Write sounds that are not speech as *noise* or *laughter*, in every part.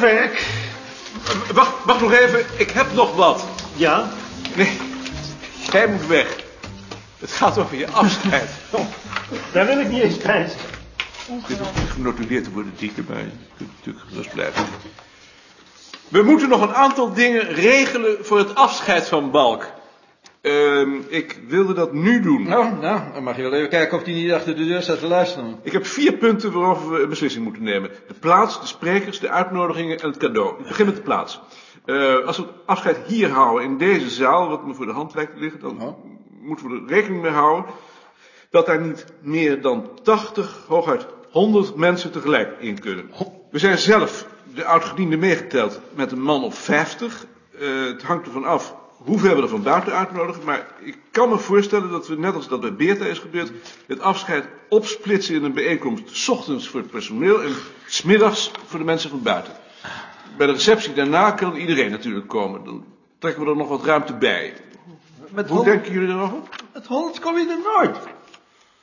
werk. Wacht, wacht nog even, ik heb nog wat. Ja? Nee, jij moet weg. Het gaat over je *laughs* afscheid. Daar wil ik niet eens bij zijn. Dit hoeft niet genotuleerd te worden, Dieke, maar je kunt natuurlijk gerust blijven. We moeten nog een aantal dingen regelen voor het afscheid van Balk. Ehm, ik wilde dat nu doen. Nou, nou, dan mag je wel even kijken of die niet achter de deur staat te luisteren. Ik heb vier punten waarover we een beslissing moeten nemen. De plaats, de sprekers, de uitnodigingen en het cadeau. Ik begin met de plaats. Eh, als we het afscheid hier houden, in deze zaal, wat me voor de hand lijkt te liggen, dan Oh. moeten we er rekening mee houden dat daar niet meer dan 80, hooguit 100 mensen tegelijk in kunnen. We zijn zelf, de oudgedienden meegeteld, met een man of 50. Eh, het hangt ervan af hoe ver we er van buiten uitnodigen, maar ik kan me voorstellen dat we, net als dat bij Beerta is gebeurd, het afscheid opsplitsen in een bijeenkomst, s ochtends voor het personeel en smiddags voor de mensen van buiten. Bij de receptie daarna kan iedereen natuurlijk komen, dan trekken we er nog wat ruimte bij. Met Hoe hond- denken jullie erover? Met honderd kom je er nooit.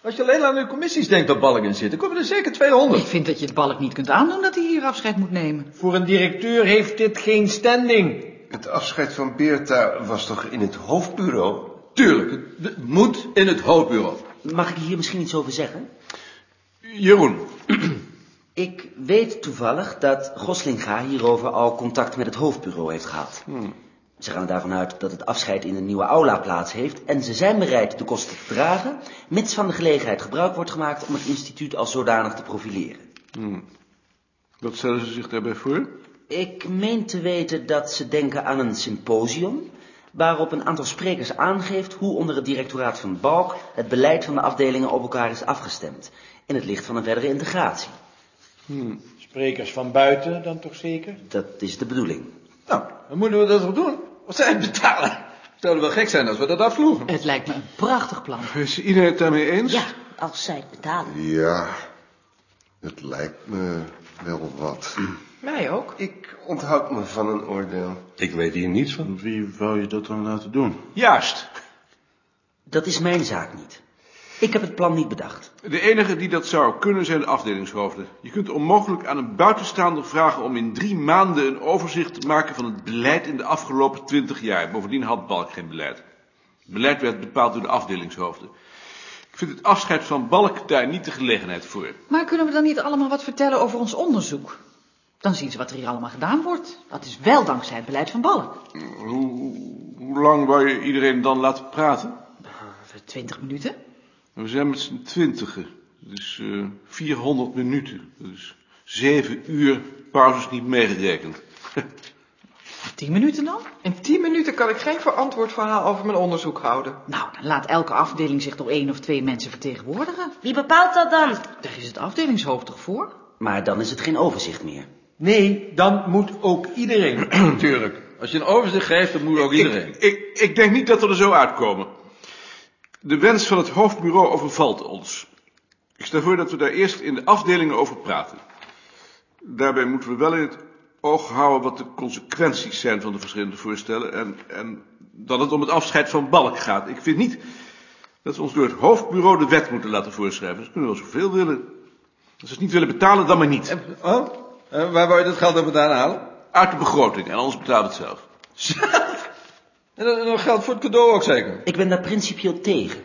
Als je alleen aan de commissies denkt dat balken in zitten, komen er zeker 200. Ik vind dat je het balk niet kunt aandoen dat hij hier afscheid moet nemen. Voor een directeur heeft dit geen standing. Het afscheid van Beerta was toch in het hoofdbureau? Tuurlijk, het- het moet in het hoofdbureau. Mag ik hier misschien iets over zeggen? Jeroen, Ik weet toevallig dat Goslinga hierover al contact met het hoofdbureau heeft gehad. Ze gaan er daarvan uit dat het afscheid in een nieuwe aula plaats heeft... en ze zijn bereid de kosten te dragen... mits van de gelegenheid gebruik wordt gemaakt om het instituut als zodanig te profileren. wat stellen ze zich daarbij voor? Ik meen te weten dat ze denken aan een symposium... waarop een aantal sprekers aangeeft hoe onder het directoraat van Balk... het beleid van de afdelingen op elkaar is afgestemd... in het licht van een verdere integratie. Sprekers van buiten dan toch zeker? Dat is de bedoeling. Nou, dan moeten we dat wel doen. Wat zij betalen. Zouden wel gek zijn als we dat afvloegen. Het lijkt me een prachtig plan. Is iedereen het daarmee eens? Ja, als zij het betalen. Ja, het lijkt me wel wat. Mij ook. Ik onthoud me van een oordeel. Ik weet hier niets van. Wie wou je dat dan laten doen? Juist. Dat is mijn zaak niet. Ik heb het plan niet bedacht. De enige die dat zou kunnen zijn de afdelingshoofden. Je kunt onmogelijk aan een buitenstaander vragen om in drie maanden een overzicht te maken van het beleid in de afgelopen twintig jaar. Bovendien had Balk geen beleid. Het beleid werd bepaald door de afdelingshoofden. Ik vind het afscheid van Balk daar niet de gelegenheid voor. Maar kunnen we dan niet allemaal wat vertellen over ons onderzoek? Dan zien ze wat er hier allemaal gedaan wordt. Dat is wel dankzij het beleid van Balk. Hoe, hoe lang wou je iedereen dan laten praten? Over twintig minuten. We zijn met z'n twintigen. Dat is eh 400 minuten. Dat is zeven uur, pauzes niet meegerekend. Tien minuten dan? In tien minuten kan ik geen verantwoord verhaal over mijn onderzoek houden. Nou, dan laat elke afdeling zich door één of twee mensen vertegenwoordigen. Wie bepaalt dat dan? Daar is het afdelingshoofd toch voor? Maar dan is het geen overzicht meer. Nee, dan moet ook iedereen. Tuurlijk. Als je een overzicht geeft, dan moet ook iedereen. Ik, ik, ik denk niet dat we er zo uitkomen. De wens van het hoofdbureau overvalt ons. Ik stel voor dat we daar eerst in de afdelingen over praten. Daarbij moeten we wel in het oog houden wat de consequenties zijn van de verschillende voorstellen. En, en dat het om het afscheid van Balk gaat. Ik vind niet dat we ons door het hoofdbureau de wet moeten laten voorschrijven. Ze kunnen wel zoveel willen. Als ze het niet willen betalen, dan maar niet. Oh, eh, waar wou je dat geld dan vandaan halen? Uit de begroting en anders betalen we het zelf. En dat, en dat geldt voor het cadeau ook zeker. Ik ben daar principieel tegen.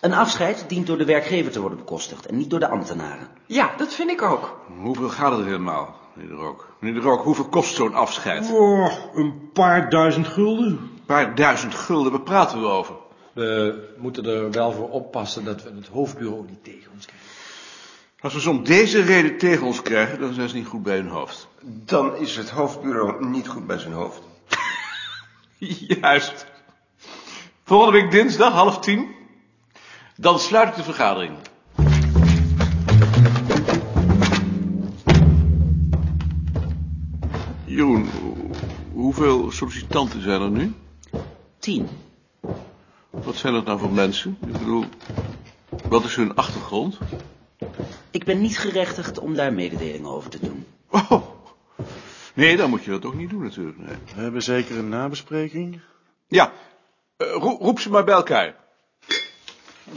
Een afscheid dient door de werkgever te worden bekostigd en niet door de ambtenaren. Ja, dat vind ik ook. Hoeveel gaat het er helemaal, meneer de Rook? Meneer de Rook, hoeveel kost zo'n afscheid? Oh, een paar duizend gulden. Een paar duizend gulden, waar praten we over? We moeten er wel voor oppassen dat we het hoofdbureau niet tegen ons krijgen. Als we ze om deze reden tegen ons krijgen, dan zijn ze niet goed bij hun hoofd. Dan is het hoofdbureau niet goed bij zijn hoofd. *laughs* Juist. Volgende week dinsdag, half tien. Dan sluit ik de vergadering. Jeroen, hoeveel sollicitanten zijn er nu? Tien. Wat zijn dat nou voor mensen? Ik bedoel, wat is hun achtergrond? Ik ben niet gerechtigd om daar mededelingen over te doen. Oh. Nee, dan moet je dat ook niet doen natuurlijk. Nee. We hebben zeker een nabespreking. Ja, eh, roep, roep ze maar bij elkaar.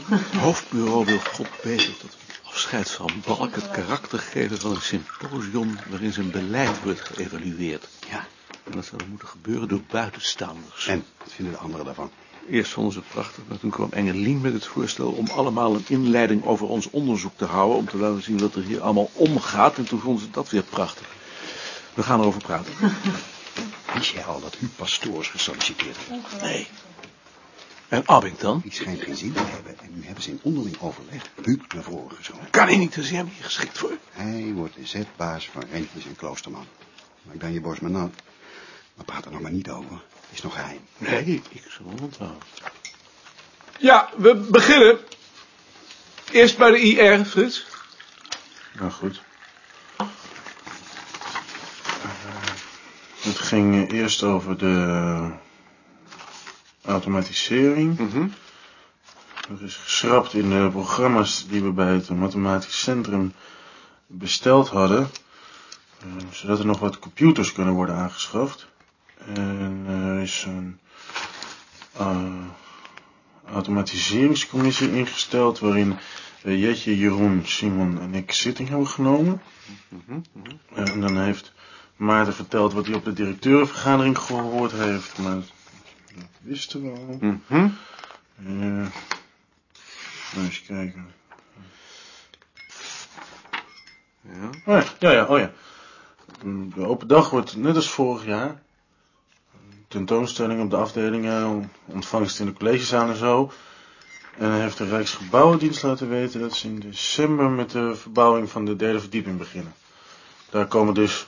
Het hoofdbureau wil God beter dat we het afscheid van Balk het karakter geven van een symposium waarin zijn beleid wordt geëvalueerd. Ja. En dat zou dan moeten gebeuren door buitenstaanders. En wat vinden de anderen daarvan? Eerst vonden ze het prachtig, maar toen kwam Engelien met het voorstel om allemaal een inleiding over ons onderzoek te houden. Om te laten zien wat er hier allemaal omgaat. En toen vonden ze dat weer prachtig. We gaan erover praten. Wist jij al dat u pastoors gesolliciteerd heeft? Nee. En Abing dan? Die schijnt geen zin te hebben. En nu hebben ze in onderling overleg Huub naar voren geschoven. Kan hij niet, is hij helemaal niet geschikt voor. Hij wordt de zetbaas van Rentjes en Kloosterman. Maar ik ben je borst maar nat. Maar praat er nog maar niet over. Is nog geheim. Nee, ik zal hem onthouden. Ja, we beginnen. Eerst bij de IR, Frits. Nou goed. Eh, Het ging eh, eerst over de automatisering. Mhm. Er is geschrapt in de programma's die we bij het Mathematisch Centrum besteld hadden. eh, zodat er nog wat computers kunnen worden aangeschaft. En er is een eh, automatiseringscommissie ingesteld waarin eh, Jetje, Jeroen, Simon en ik zitting hebben genomen. Eh, En dan heeft Maarten verteld wat hij op de directeurenvergadering gehoord heeft, maar dat wisten we al. Mhm. Eh, nou, eens kijken. Ja. Oh ja, ja, ja, oh ja. Mm, De open dag wordt net als vorig jaar. Tentoonstelling op de afdelingen, ontvangst in de collegezaal en zo. En hij heeft de Rijksgebouwendienst laten weten dat ze in december met de verbouwing van de derde verdieping beginnen. Daar komen dus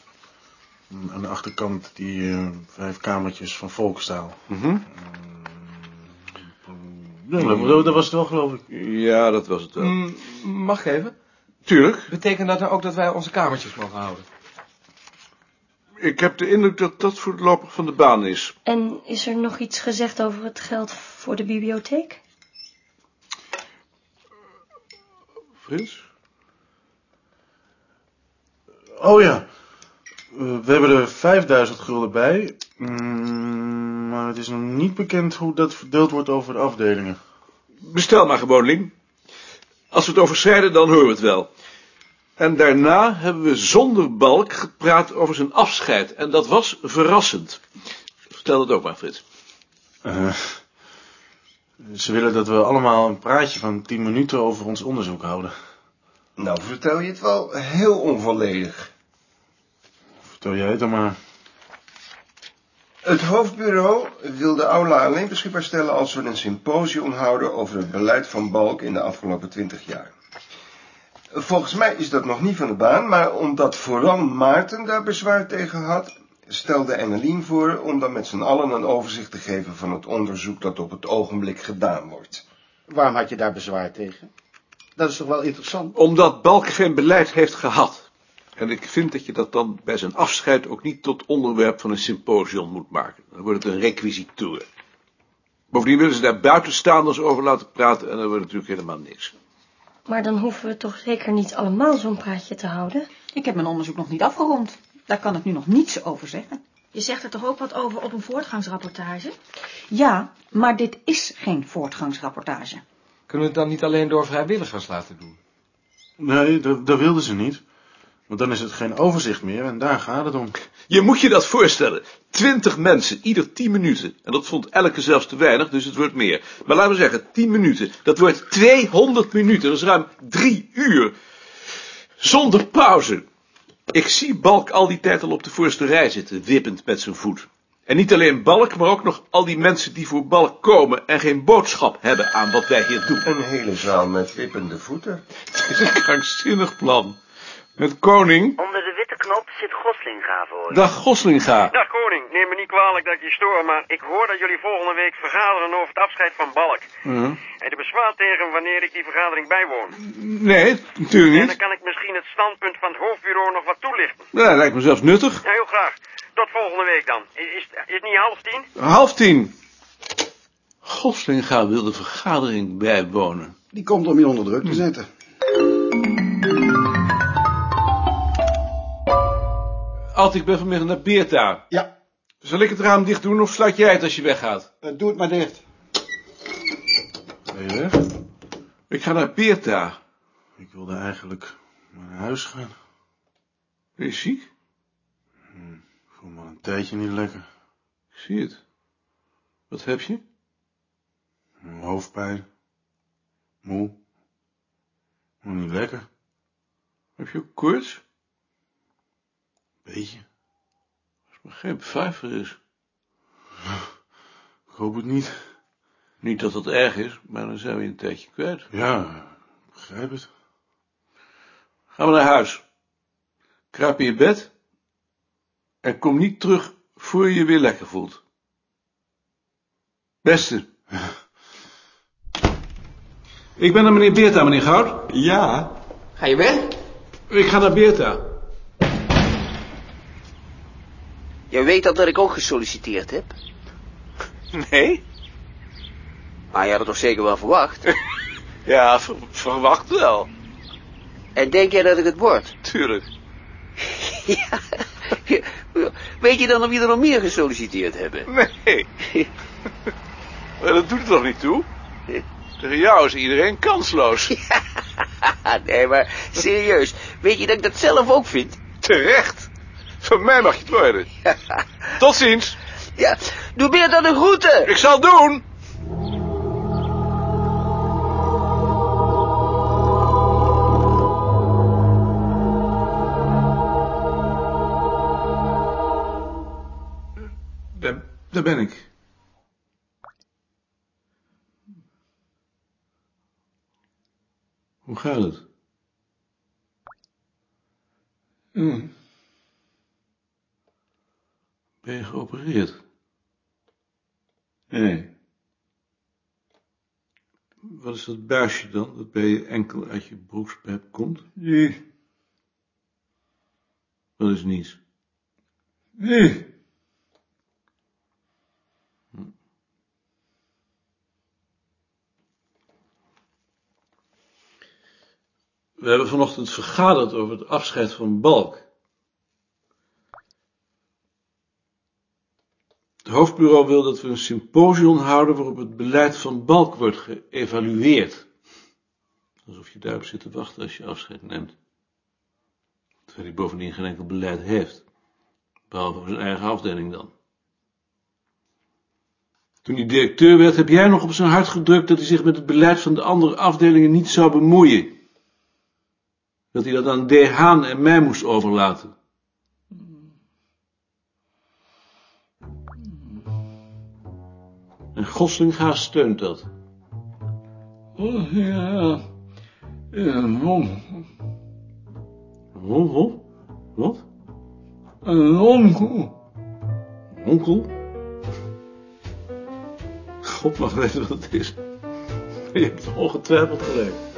mm, aan de achterkant die eh, vijf kamertjes van Volkstaal. mhm. Ja, dat, dat was het wel, geloof ik. Ja, dat was het wel. Mm, mag ik even? Tuurlijk. Betekent dat nou ook dat wij onze kamertjes mogen houden? Ik heb de indruk dat dat voorlopig van de baan is. En is er nog iets gezegd over het geld voor de bibliotheek? Frits? Oh ja. Eh, We hebben er 5000 gulden bij. Mm, Maar het is nog niet bekend hoe dat verdeeld wordt over de afdelingen. Bestel maar gewoon, Lien. Als we het overschrijden, dan horen we het wel. En daarna hebben we zonder Balk gepraat over zijn afscheid. En dat was verrassend. Vertel dat ook maar, Frits. Eh, ze willen dat we allemaal een praatje van 10 minuten over ons onderzoek houden. Nou, vertel je het wel heel onvolledig. Vertel jij het dan maar. Het hoofdbureau wil de aula alleen beschikbaar stellen als we een symposium houden over het beleid van Balk in de afgelopen twintig jaar. Volgens mij is dat nog niet van de baan, maar omdat vooral Maarten daar bezwaar tegen had, stelde Emmeline voor om dan met z'n allen een overzicht te geven van het onderzoek dat op het ogenblik gedaan wordt. Waarom had je daar bezwaar tegen? Dat is toch wel interessant? Omdat Balk geen beleid heeft gehad. En ik vind dat je dat dan bij zijn afscheid ook niet tot onderwerp van een symposium moet maken. Dan wordt het een requisitour. Bovendien willen ze daar buitenstaanders over laten praten en dan wordt het natuurlijk helemaal niks. Maar dan hoeven we toch zeker niet allemaal zo'n praatje te houden? Ik heb mijn onderzoek nog niet afgerond. Daar kan ik nu nog niets over zeggen. Je zegt er toch ook wat over op een voortgangsrapportage? Ja, maar dit is geen voortgangsrapportage. Kunnen we het dan niet alleen door vrijwilligers laten doen? Nee, dat, dat wilden ze niet. Want dan is het geen overzicht meer en daar gaat het om. Je moet je dat voorstellen. Twintig mensen, ieder tien minuten. En dat vond elke zelfs te weinig, dus het wordt meer. Maar laten we zeggen, tien minuten. Dat wordt 200 minuten. Dat is ruim drie uur. Zonder pauze. Ik zie Balk al die tijd al op de voorste rij zitten, wippend met zijn voet. En niet alleen Balk, maar ook nog al die mensen die voor Balk komen en geen boodschap hebben aan wat wij hier doen. Een hele zaal met wippende voeten. Het is een krankzinnig plan. Met koning, Onder de witte knop zit Goslinga voor. je. dag Goslinga. Dag koning, neem me niet kwalijk dat ik je stoor, maar ik hoor dat jullie volgende week vergaderen over het afscheid van Balk. Ja. En er bezwaar tegen wanneer ik die vergadering bijwoon. Nee, natuurlijk En niet. dan kan ik misschien het standpunt van het hoofdbureau nog wat toelichten. Ja, dat lijkt me zelfs nuttig. Ja, heel graag. Tot volgende week dan. Is, is, is het niet half tien? Half tien. Goslinga wil de vergadering bijwonen. Die komt om je onder druk Hmm. te zetten. Alt, ik ben vanmiddag naar Beerta. Ja. Zal ik het raam dicht doen of sluit jij het als je weggaat? Eh, doe het maar dicht. Ik ga naar Beerta. Ik wilde eigenlijk maar naar huis gaan. Ben je ziek? Hm, Ik voel me al een tijdje niet lekker. Ik zie het. Wat heb je? Hoofdpijn. Moe. Maar niet lekker. Heb je ook koorts? Beetje. Als het maar geen vijver is. Ik hoop het niet. Niet dat dat erg is, maar dan zijn we je een tijdje kwijt. Ja, ik begrijp het. Ga maar naar huis. Kruip in je bed. En kom niet terug voor je je weer lekker voelt. Beste. Ik ben naar meneer Beerta, meneer Goud. Ja. Ga je weg? Ik ga naar Beerta. Jij weet al dat ik ook gesolliciteerd heb. Nee? Maar je had het toch zeker wel verwacht? Ja, ver- verwacht wel. *laughs* En denk jij dat ik het word? Tuurlijk. ja. *laughs* Weet je dan of je er nog meer gesolliciteerd hebben? Nee. Maar *laughs* dat doet er toch niet toe? Tegen jou is iedereen kansloos. *laughs* nee, maar serieus. Weet je dat ik dat zelf ook vind? Terecht. Van mij mag je het worden. Tot ziens. Ja, doe meer dan een groeten. Oh, Ik zal doen. Daar, daar ben ik. Hoe gaat het? Hm. Ben je geopereerd? Nee. Wat is dat buisje dan, dat bij je enkel uit je broekspijp komt? Nee. Dat is niets. Nee. We hebben vanochtend vergaderd over het afscheid van Balk. Het hoofdbureau wil dat we een symposium houden waarop het beleid van Balk wordt geëvalueerd. Alsof je daarop zit te wachten als je afscheid neemt. Terwijl hij bovendien geen enkel beleid heeft. Behalve voor zijn eigen afdeling dan. Toen hij directeur werd, heb jij nog op zijn hart gedrukt dat hij zich met het beleid van de andere afdelingen niet zou bemoeien. Dat hij dat aan De Haan en mij moest overlaten. En Goslinga steunt dat. Oh, ja. Een won. Ron, Ron? Wat? Een onkel. Onkel? God mag weten wat het is. Je hebt ongetwijfeld gelijk.